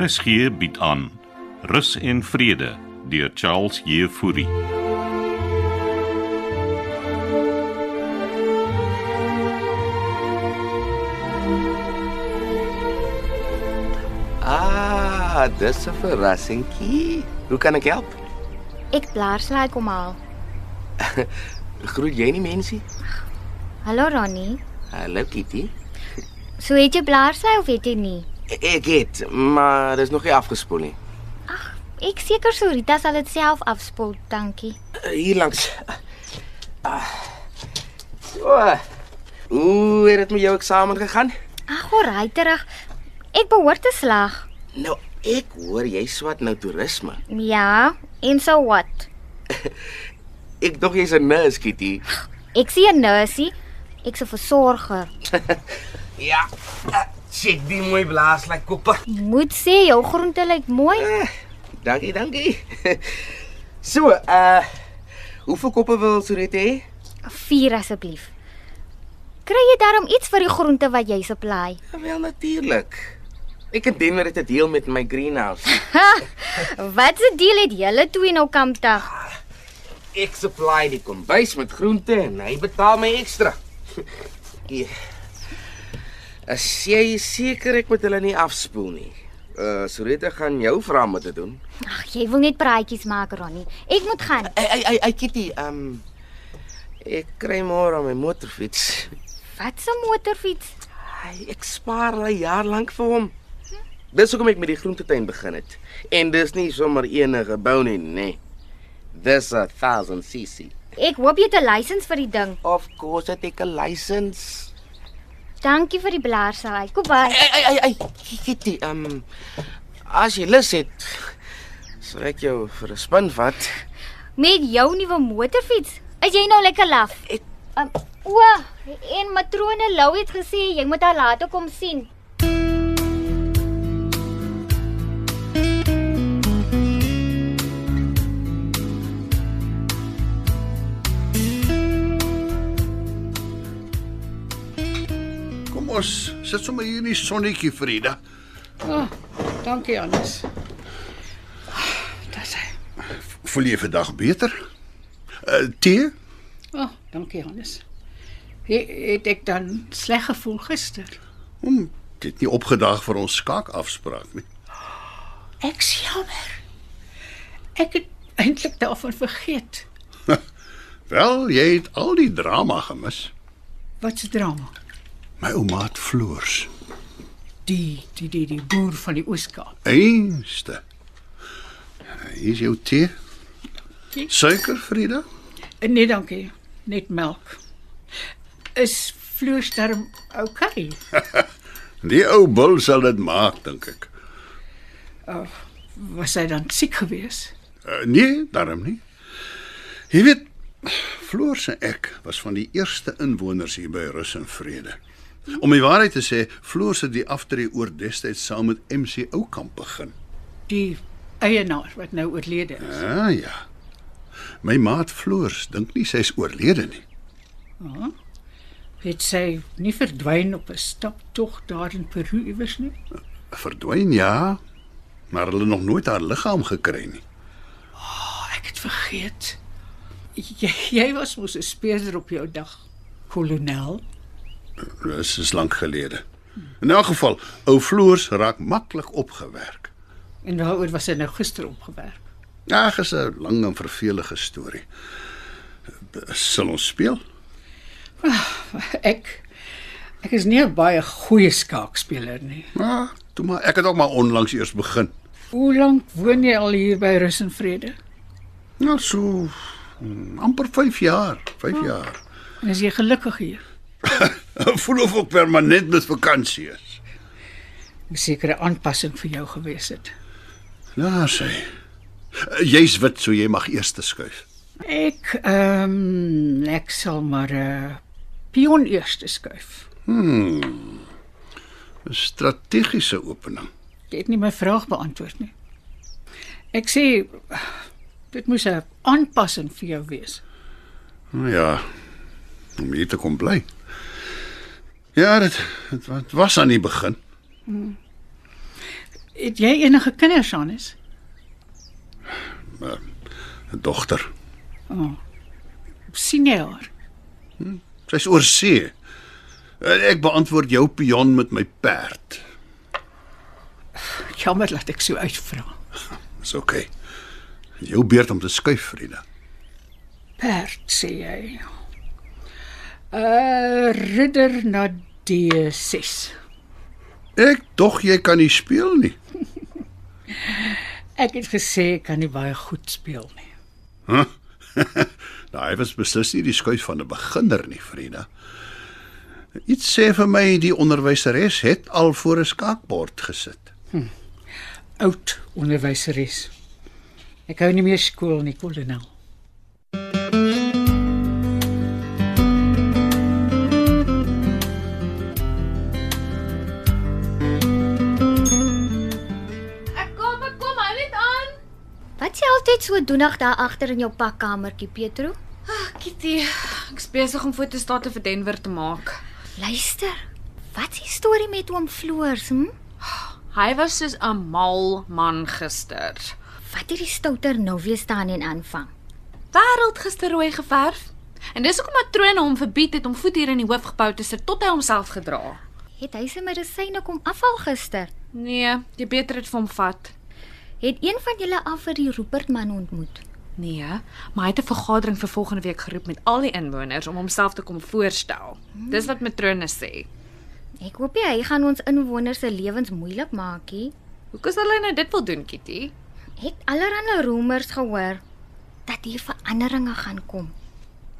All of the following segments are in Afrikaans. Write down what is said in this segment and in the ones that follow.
RSG bied aan Rus en Vrede deur Charles Jefouri. Ah, dis 'n verrassingkie. Hoe kan ek help? Ek blaarslaai kom haal. Groet jy nie mensie? Hallo Ronnie. Hallo Kitty. E-, So het jy blaarslaai of het jy nie? Ek het, maar dis nog nie afgespoel nie. Ek seker sou Rita sal dit self afspoel, dankie. Hier langs. Ah. So. Hoe het dit met jou eksamen gegaan? Ag, alraai terug. Ek behoort te slaag. Nou, ek hoor jy swat nou toerisme. Ja, en so wat? Ek dog jy's 'n nurse, Kitty. Ek sien 'n nursie. Ek's 'n versorger. Ja. Sien die mooi blaas lyk like koppe. Jy moet sê jou groente lyk mooi. Ah, dankie, dankie. so, uh hoeveel koppe wil Sorete hê? Vier asseblief. Kry jy daarom iets vir die groente wat jy supply? Ja, Wel natuurlik. Ek het Denver dit deel met my greenhouse. Wat se deal het julle twee nou kampdag? Ek supply die kombuis met groente en hy betaal my ekstra. Hier. As jy seker ek moet hulle nie afspoel nie. Uh Soreta gaan jou vra om dit te doen. Ag, jy wil net praatjies maak, Ronnie. Ek moet gaan. Ai ai ai, ai Kitty, ehm um, ek kry môre my motorfiets. Wat 'n motorfiets. Ai, ek spaar al 'n jaar lank vir hom. Dis hoekom ek met die groentetein begin het. En dis nie sommer enige bou nie, nee. Dis 'n 1000 cc. Ek hoop jy het 'n lisensie vir die ding. Of course het ek 'n lisensie. Dankie vir die blaarsaai. Kom by. Ai ai ai ai, Kitty, ehm um, as jy lus het, sal ek jou vir 'n spin vat. Met jou nuwe motorfiets. Is jy nou lekker laf? Ek- um, o, en matrone Lou het gesê jy moet haar later kom sien. Kom ons sit sommer hier in die sonnetjie, Frida. Dankie Anders. Dis Ah, hy. Voel jy vandag beter? Uh tee? O, oh, dankie Anders. He, het ek dan sleg gevoel gister? Hom dit nie opgedag vir ons skaakafspraak nie. Ek's jammer. Ek het eintlik daarvan vergeet. Wel, jy het al die drama gemis. Wat 'n drama. My ouma het floors. Die die die die boer van die Ooskaap. Eenste. Hier is jou tee. Dankie. Suiker, Frida? Nee, dankie. Net melk. Is vloerstorm oukei? Okay? Die ou bul sal dit maak, dink ek. Was hy dan siek geweest? Uh, nee, daarom nie. Jy weet, Floors en ek was van die eerste inwoners hier by Rus en Vrede. Om die waarheid te sê, Floors het die aftree oor destyds saam met MC Oukamp begin. Die eienaar wat nou oorlede is. Ah ja. My maat Floors dink nie sy's oorlede nie. Het sy nie verdwyn op 'n staptog daar in Peru iewers nie? Verdwyn ja, maar hulle nog nooit haar liggaam gekry nie. Ek het vergeet. Jy, jy was mos 'n speerder op jou dag, kolonel. Dis is lank gelede. In 'n geval, ou Floors raak maklik opgewerk. En waaroor was hy nou gister opgewerk? Ag, is 'n lang en vervelige storie. Sal ons speel? Ek ek is nie 'n baie goeie skaakspeler nie. Ja, toe maar. Ek het ook maar onlangs eers begin. Hoe lank woon jy al hier by Rus en Vrede? Nou so mm, amper 5 jaar, 5 oh. jaar. En is jy gelukkig hier? Voel of ek permanent met vakansie is. Ek seker 'n aanpassing vir jou gewees het. Ja, sê. Jy's wit, so jy mag eers te skuif. Ek ehm um, ek sal maar 'n uh, pion eers Dis skuif. Hmm. Strategiese opening. Jy het nie my vraag beantwoord nie. Ek sê dit moes 'n aanpassing vir jou wees. Nou ja. Om hier te kom bly. Ja, dit dit wa- dit was aan die begin. Het jy enige kinders, Hannes? 'n Dogter. sien jy haar? Sy's oor see. En Ek beantwoord jou pion met my perd. Jammer dat ek so uitvra. Dis oké. Okay. Jou beurt om te skuif, Frida. Perd sê jy. Uh ridder na D6. Ek dog jy kan nie speel nie. Ek het gesê ek kan nie baie goed speel nie. Daai Nou, was beslis nie die skuif van 'n beginner nie, Frida. Iets sê vir my die onderwyseres het al voor 'n skaakbord gesit. Oud onderwyseres. Ek hou nie meer skool nie, kolonel. Ek kom, ek kom, hou net aan. Wat sê altyd so doenig daar agter in jou pakkamertjie, Petro? Kitty, ek's besig om fotostate vir Denver te maak. Luister. Wat is die storie met oom Floors? Hm? Hy was soos 'n mal man gister. Wat het die stouter nou weer staan en aanvang? Wêreld gister rooi geverf. En dis hoekom matrone hom verbied het om voet hier in die hoofgebou te sit tot hy homself gedra. Het hy sy medisyne kom afhaal gister? Nee, jy beter dit vir hom vat. Het een van julle af vir die Rupert man ontmoet? Nee, maar hy het 'n vergadering vir volgende week geroep met al die inwoners om homself te kom voorstel. Dis wat matrone sê. Ek hoop nie hy gaan ons inwoners se lewens moeilik maak nie. Hoekom sal hy nou dit wil doen, Kitty? Het allerlei roemers gehoor dat hier veranderinge gaan kom.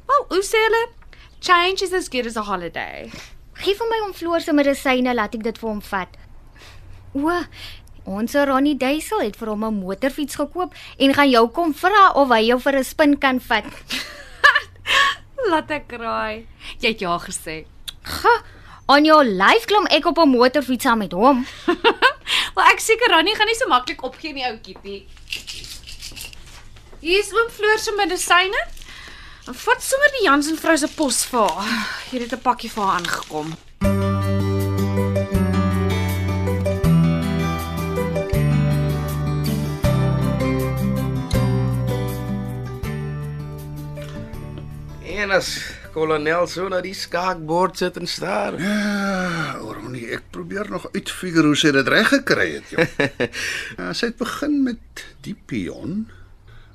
Wel, hoe sê hulle? Change is as good as a holiday. Gee vir my om Floor se medisyne, laat ek dit vir hom vat. O, ons Ronnie Duisel het vir hom 'n motorfiets gekoop en gaan jou kom vra of hy jou vir 'n spin kan vat. Laat ek raai. Jy het ja gesê. Ga, on your life klim ek op 'n motorfiets saam met hom. Wel, ek seker Ronnie gaan nie so maklik opgee nie, ou Kitty. Hier is oom Floor se medisyne. En Vat sommer die Jansen vrou se pos vir haar. Hier het 'n pakkie vir haar aangekom. En as kolonel so na die skaakbord sit en staar. Ja, Ronnie, ek probeer nog uitfigure hoe sy dit reg gekry het, joh. Ja, sy het begin met die pion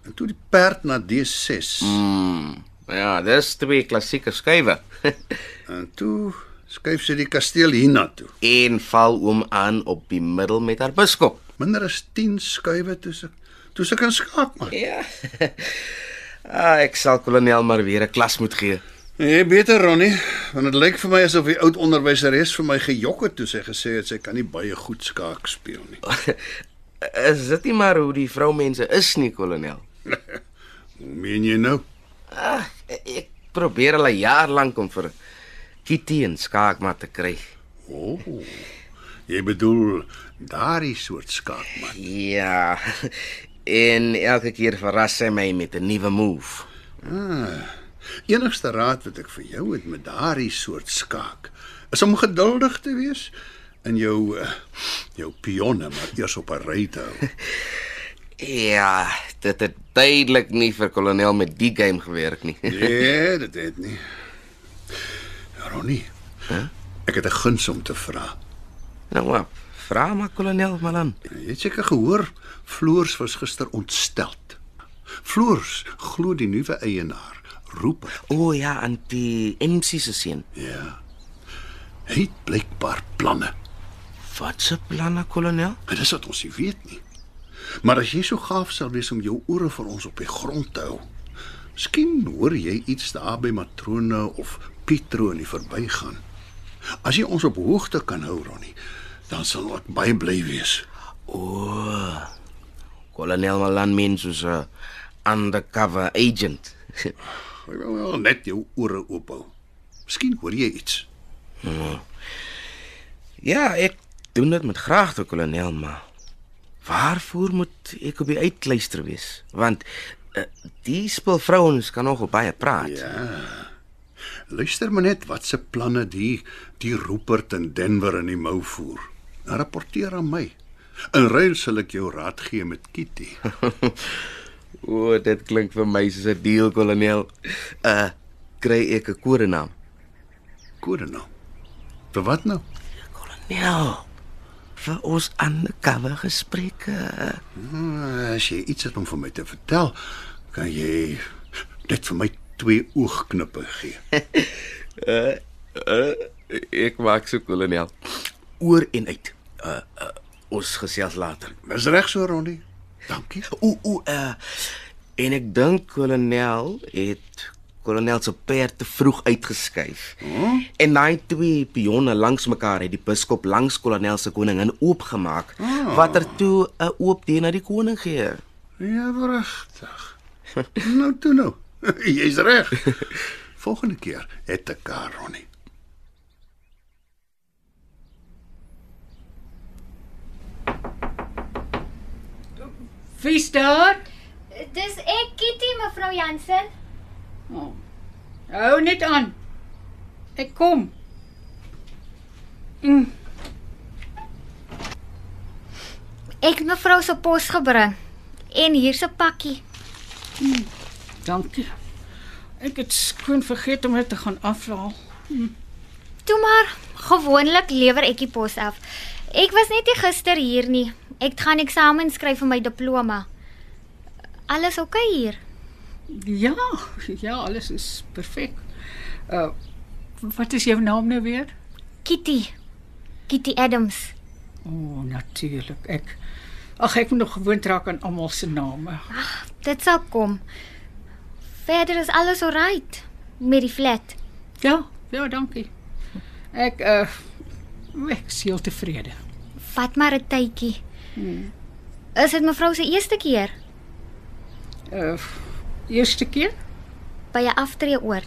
en toe die perd na D6 Mm, ja, dis twee klassieke skuwe. en toe skuif sy die kasteel hiernatoe. Een val oom aan op die middel met haar biskop. Minder as 10 skuwe toe sy toe sy kan skaak maak. Ja. Ah, ek sal kolonel maar weer 'n klas moet gee. Nee, beter Ronnie, want dit lyk vir my asof die oud onderwyseres vir my gejok het toe sy gesê het sy kan nie baie goed skaak speel nie. Is dit nie maar hoe die vroumense is nie, kolonel? Hoe meen jy nou? Ag, ek probeer al 'n jaar lank om vir Kitty en skaak maar te kry. O. Oh, jy bedoel daardie soort skaak man. Ja. En elke keer verras sy my met 'n nuwe move. Ah, enigste raad wat ek vir jou het met daardie soort skaak is om geduldig te wees en jou eh, jou pionne maar eers op 'n ry te hou. Ja, dit het duidelik nie vir kolonel met die game gewerk nie. Nee, dit het nie. Ja, Ronnie, hè? Ek het 'n guns om te vra. Nou maar, vra maar kolonel Malan. Jy het seker gehoor Floors was gister ontsteld. Floors glo die nuwe eienaar roep. O oh, ja, antie MC se seun. Ja. Hy het blykbaar planne. Wat se planne kolonel? Maar dis wat ons nie weet nie. Maar as jy so gaaf sal wees om jou ore vir ons op die grond te hou. Miskien hoor jy iets daar by matrone of Pietro in die verbygaan. As jy ons op hoogte kan hou, Ronnie, dan sal ek baie bly wees. Kolonel Malan mens soos 'n undercover agent. Ek wil wel net jou ore oop hou. Miskien hoor jy iets. ja, ek doen dit met graagte kolonel, maar waarvoor moet ek op die uitluister wees? Want uh, die spelvrouens kan nogal baie praat. Ja. Luister maar net wat se planne die die Rupert in Denver in die mou voer. En Rapporteer aan my. In ruil sal ek jou raad gee met Kitty. O, dit klink vir my soos 'n deal, kolonel. Uh, kry ek 'n kodenaam? Kode nou. Vir wat nou? Kolonel. Vir ons undercover gesprekke. Ah, As jy iets het om vir my te vertel, kan jy net vir my twee oogknippe gee. Uh, ek maak so kolonel. Oor en uit. Uh, uh ons gesels later. Dis reg so, Ronnie. Dankie. O, o, uh en ek dink kolonel het kolonel se perd te vroeg uitgeskuif. Hm? Hmm? En daai twee pionne langs mekaar het die biskop langs kolonel se koningin oopgemaak, hmm. watter toe 'n oop deur na die koning gee. Ja, regtig. Nou toe nou. Jy's reg. Volgende keer het ek haar, Ronnie. Wie's daar? Dis ek Kitty mevrou Jansen. Oh. Hou net aan. Ek kom. Ek het mevrou se pos gebring en hier's 'n pakkie. Dankie. Ek het skoon vergeet om dit te gaan aflaai. Toe maar, gewoonlik lewer ek die pos af. Ek was net nie gister hier nie. Ek gaan eksamen skryf vir my diploma. Alles oukei okay hier? Ja, ja, alles is perfek. Uh wat is jou naam nou weer? Kitty. Kitty Adams. O, oh, natuurlik. Ek Ag, ek moet nog gewoond raak aan almal se name. Dit sal kom. Verder is alles oukei met die flat. Ja, ja, dankie. Ek uh ek is heel tevrede. Vat maar 'n tydjie. Is dit mevrou se eerste keer Uh eerste keer? by 'n aftreeoort?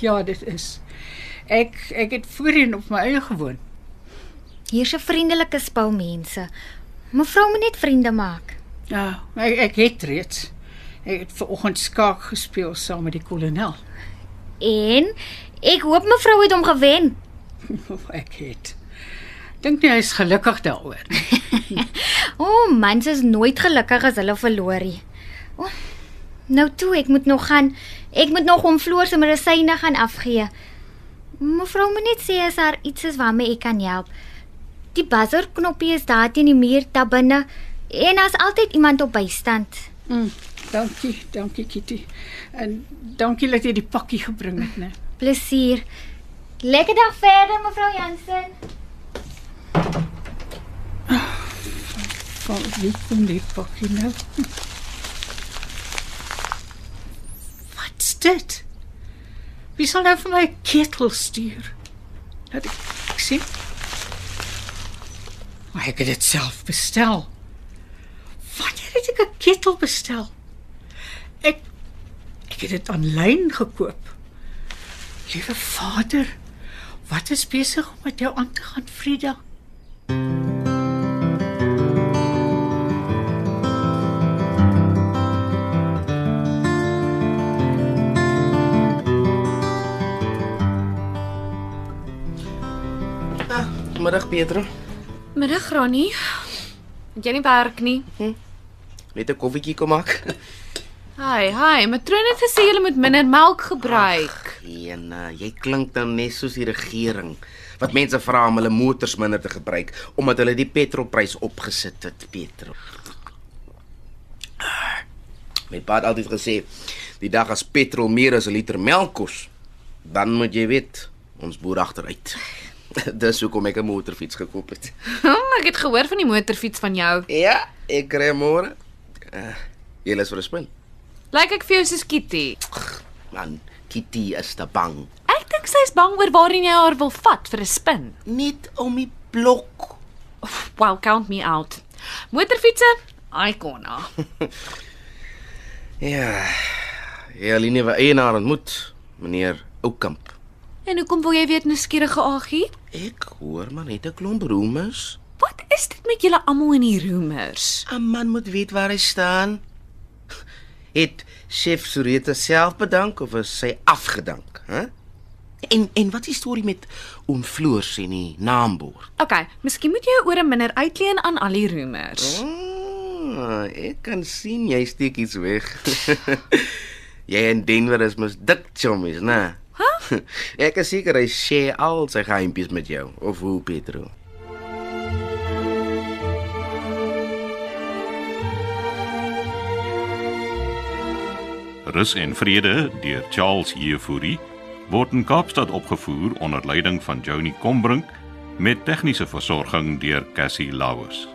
Ja, dit is. Ek ek het voorheen op my eie gewoon. Hier's 'n vriendelike spou mense. Mevrou moet net vriende maak. Ja, ek ek het reeds. Ek het ver oggend skaak gespeel saam met die kolonel. En ek hoop mevrou het hom gewen. ek het. Dink nie hy is gelukkig daaroor. O, oh, mans is nooit gelukkig as hulle verloor nie. O, nou toe, ek moet nog gaan. Ek moet nog om Floor se medisyne gaan afgee. Mevrou moet net sê as daar iets is waarmee ek kan help. Die buzzer knoppie is daar teen die muur ta binne en daar's altyd iemand op bystand. Mm, dankie, dankie Kitty. En dankie dat jy die pakkie gebring het, né? Plesier. Lekker dag verder mevrou Jansen. Kom, wie kom die pakkie nou? Wat's dit? Wie sal nou vir my 'n ketel stuur? Laat ek, ek sien. Maar ek het dit self bestel. Wanneer het ek 'n ketel bestel? Ek ek het dit aanlyn gekoop. Liewe Vader, wat is besig om met jou aan te gaan, Frida? Ah, middag Pietro. Middag Ronnie. Jy nie werk nie. Net 'n koffietjie kom maak. Hi, hi. Matroon het gesê jy moet minder melk gebruik. En uh, jy klink dan net soos die regering wat mense vra om hulle motors minder te gebruik omdat hulle die petrolprys opgesit het, Pietro. Ah, My pa het altyd gesê, die dag as petrol meer as 'n liter melk kos, dan moet jy weet, ons boer agteruit. Dis hoekom ek 'n motorfiets gekoop het. Hm, ek het gehoor van die motorfiets van jou. Ja, ek kry môre. Uh, jy is vir 'n spin. Lyk ek vir jou soos Kitty? Man, Kitty is te bang. Ek dink sy's bang oor waarheen jy haar wil vat vir 'n spin. Net om die blok. Wow, count me out. Motorfietsse, ikona. Ja. Ja, Aline was eenaar ontmoet, meneer Oukamp. En hoekom wil jy weet nuuskierige Agie? Ek hoor maar net 'n klomp roemers. Wat is dit met julle almal in die roemers? 'n Man moet weet waar hy staan. Het chef Sureta self bedank of is sy afgedank, hè? En en wat is die storie met oom Floors en die naambord? Okay, miskien moet jy jou ore minder uitleen aan al die roemers. Ah, ek kan sien jy steek iets weg. jy en Denver is mos dik chommies, né? Huh? ek is seker hy share al sy geheimpies met jou of hoe Petro? Rus en Vrede deur Charles Jefouri word in Kaapstad opgevoer onder leiding van Johnny Combrink met tegniese versorging deur Cassie Lauers.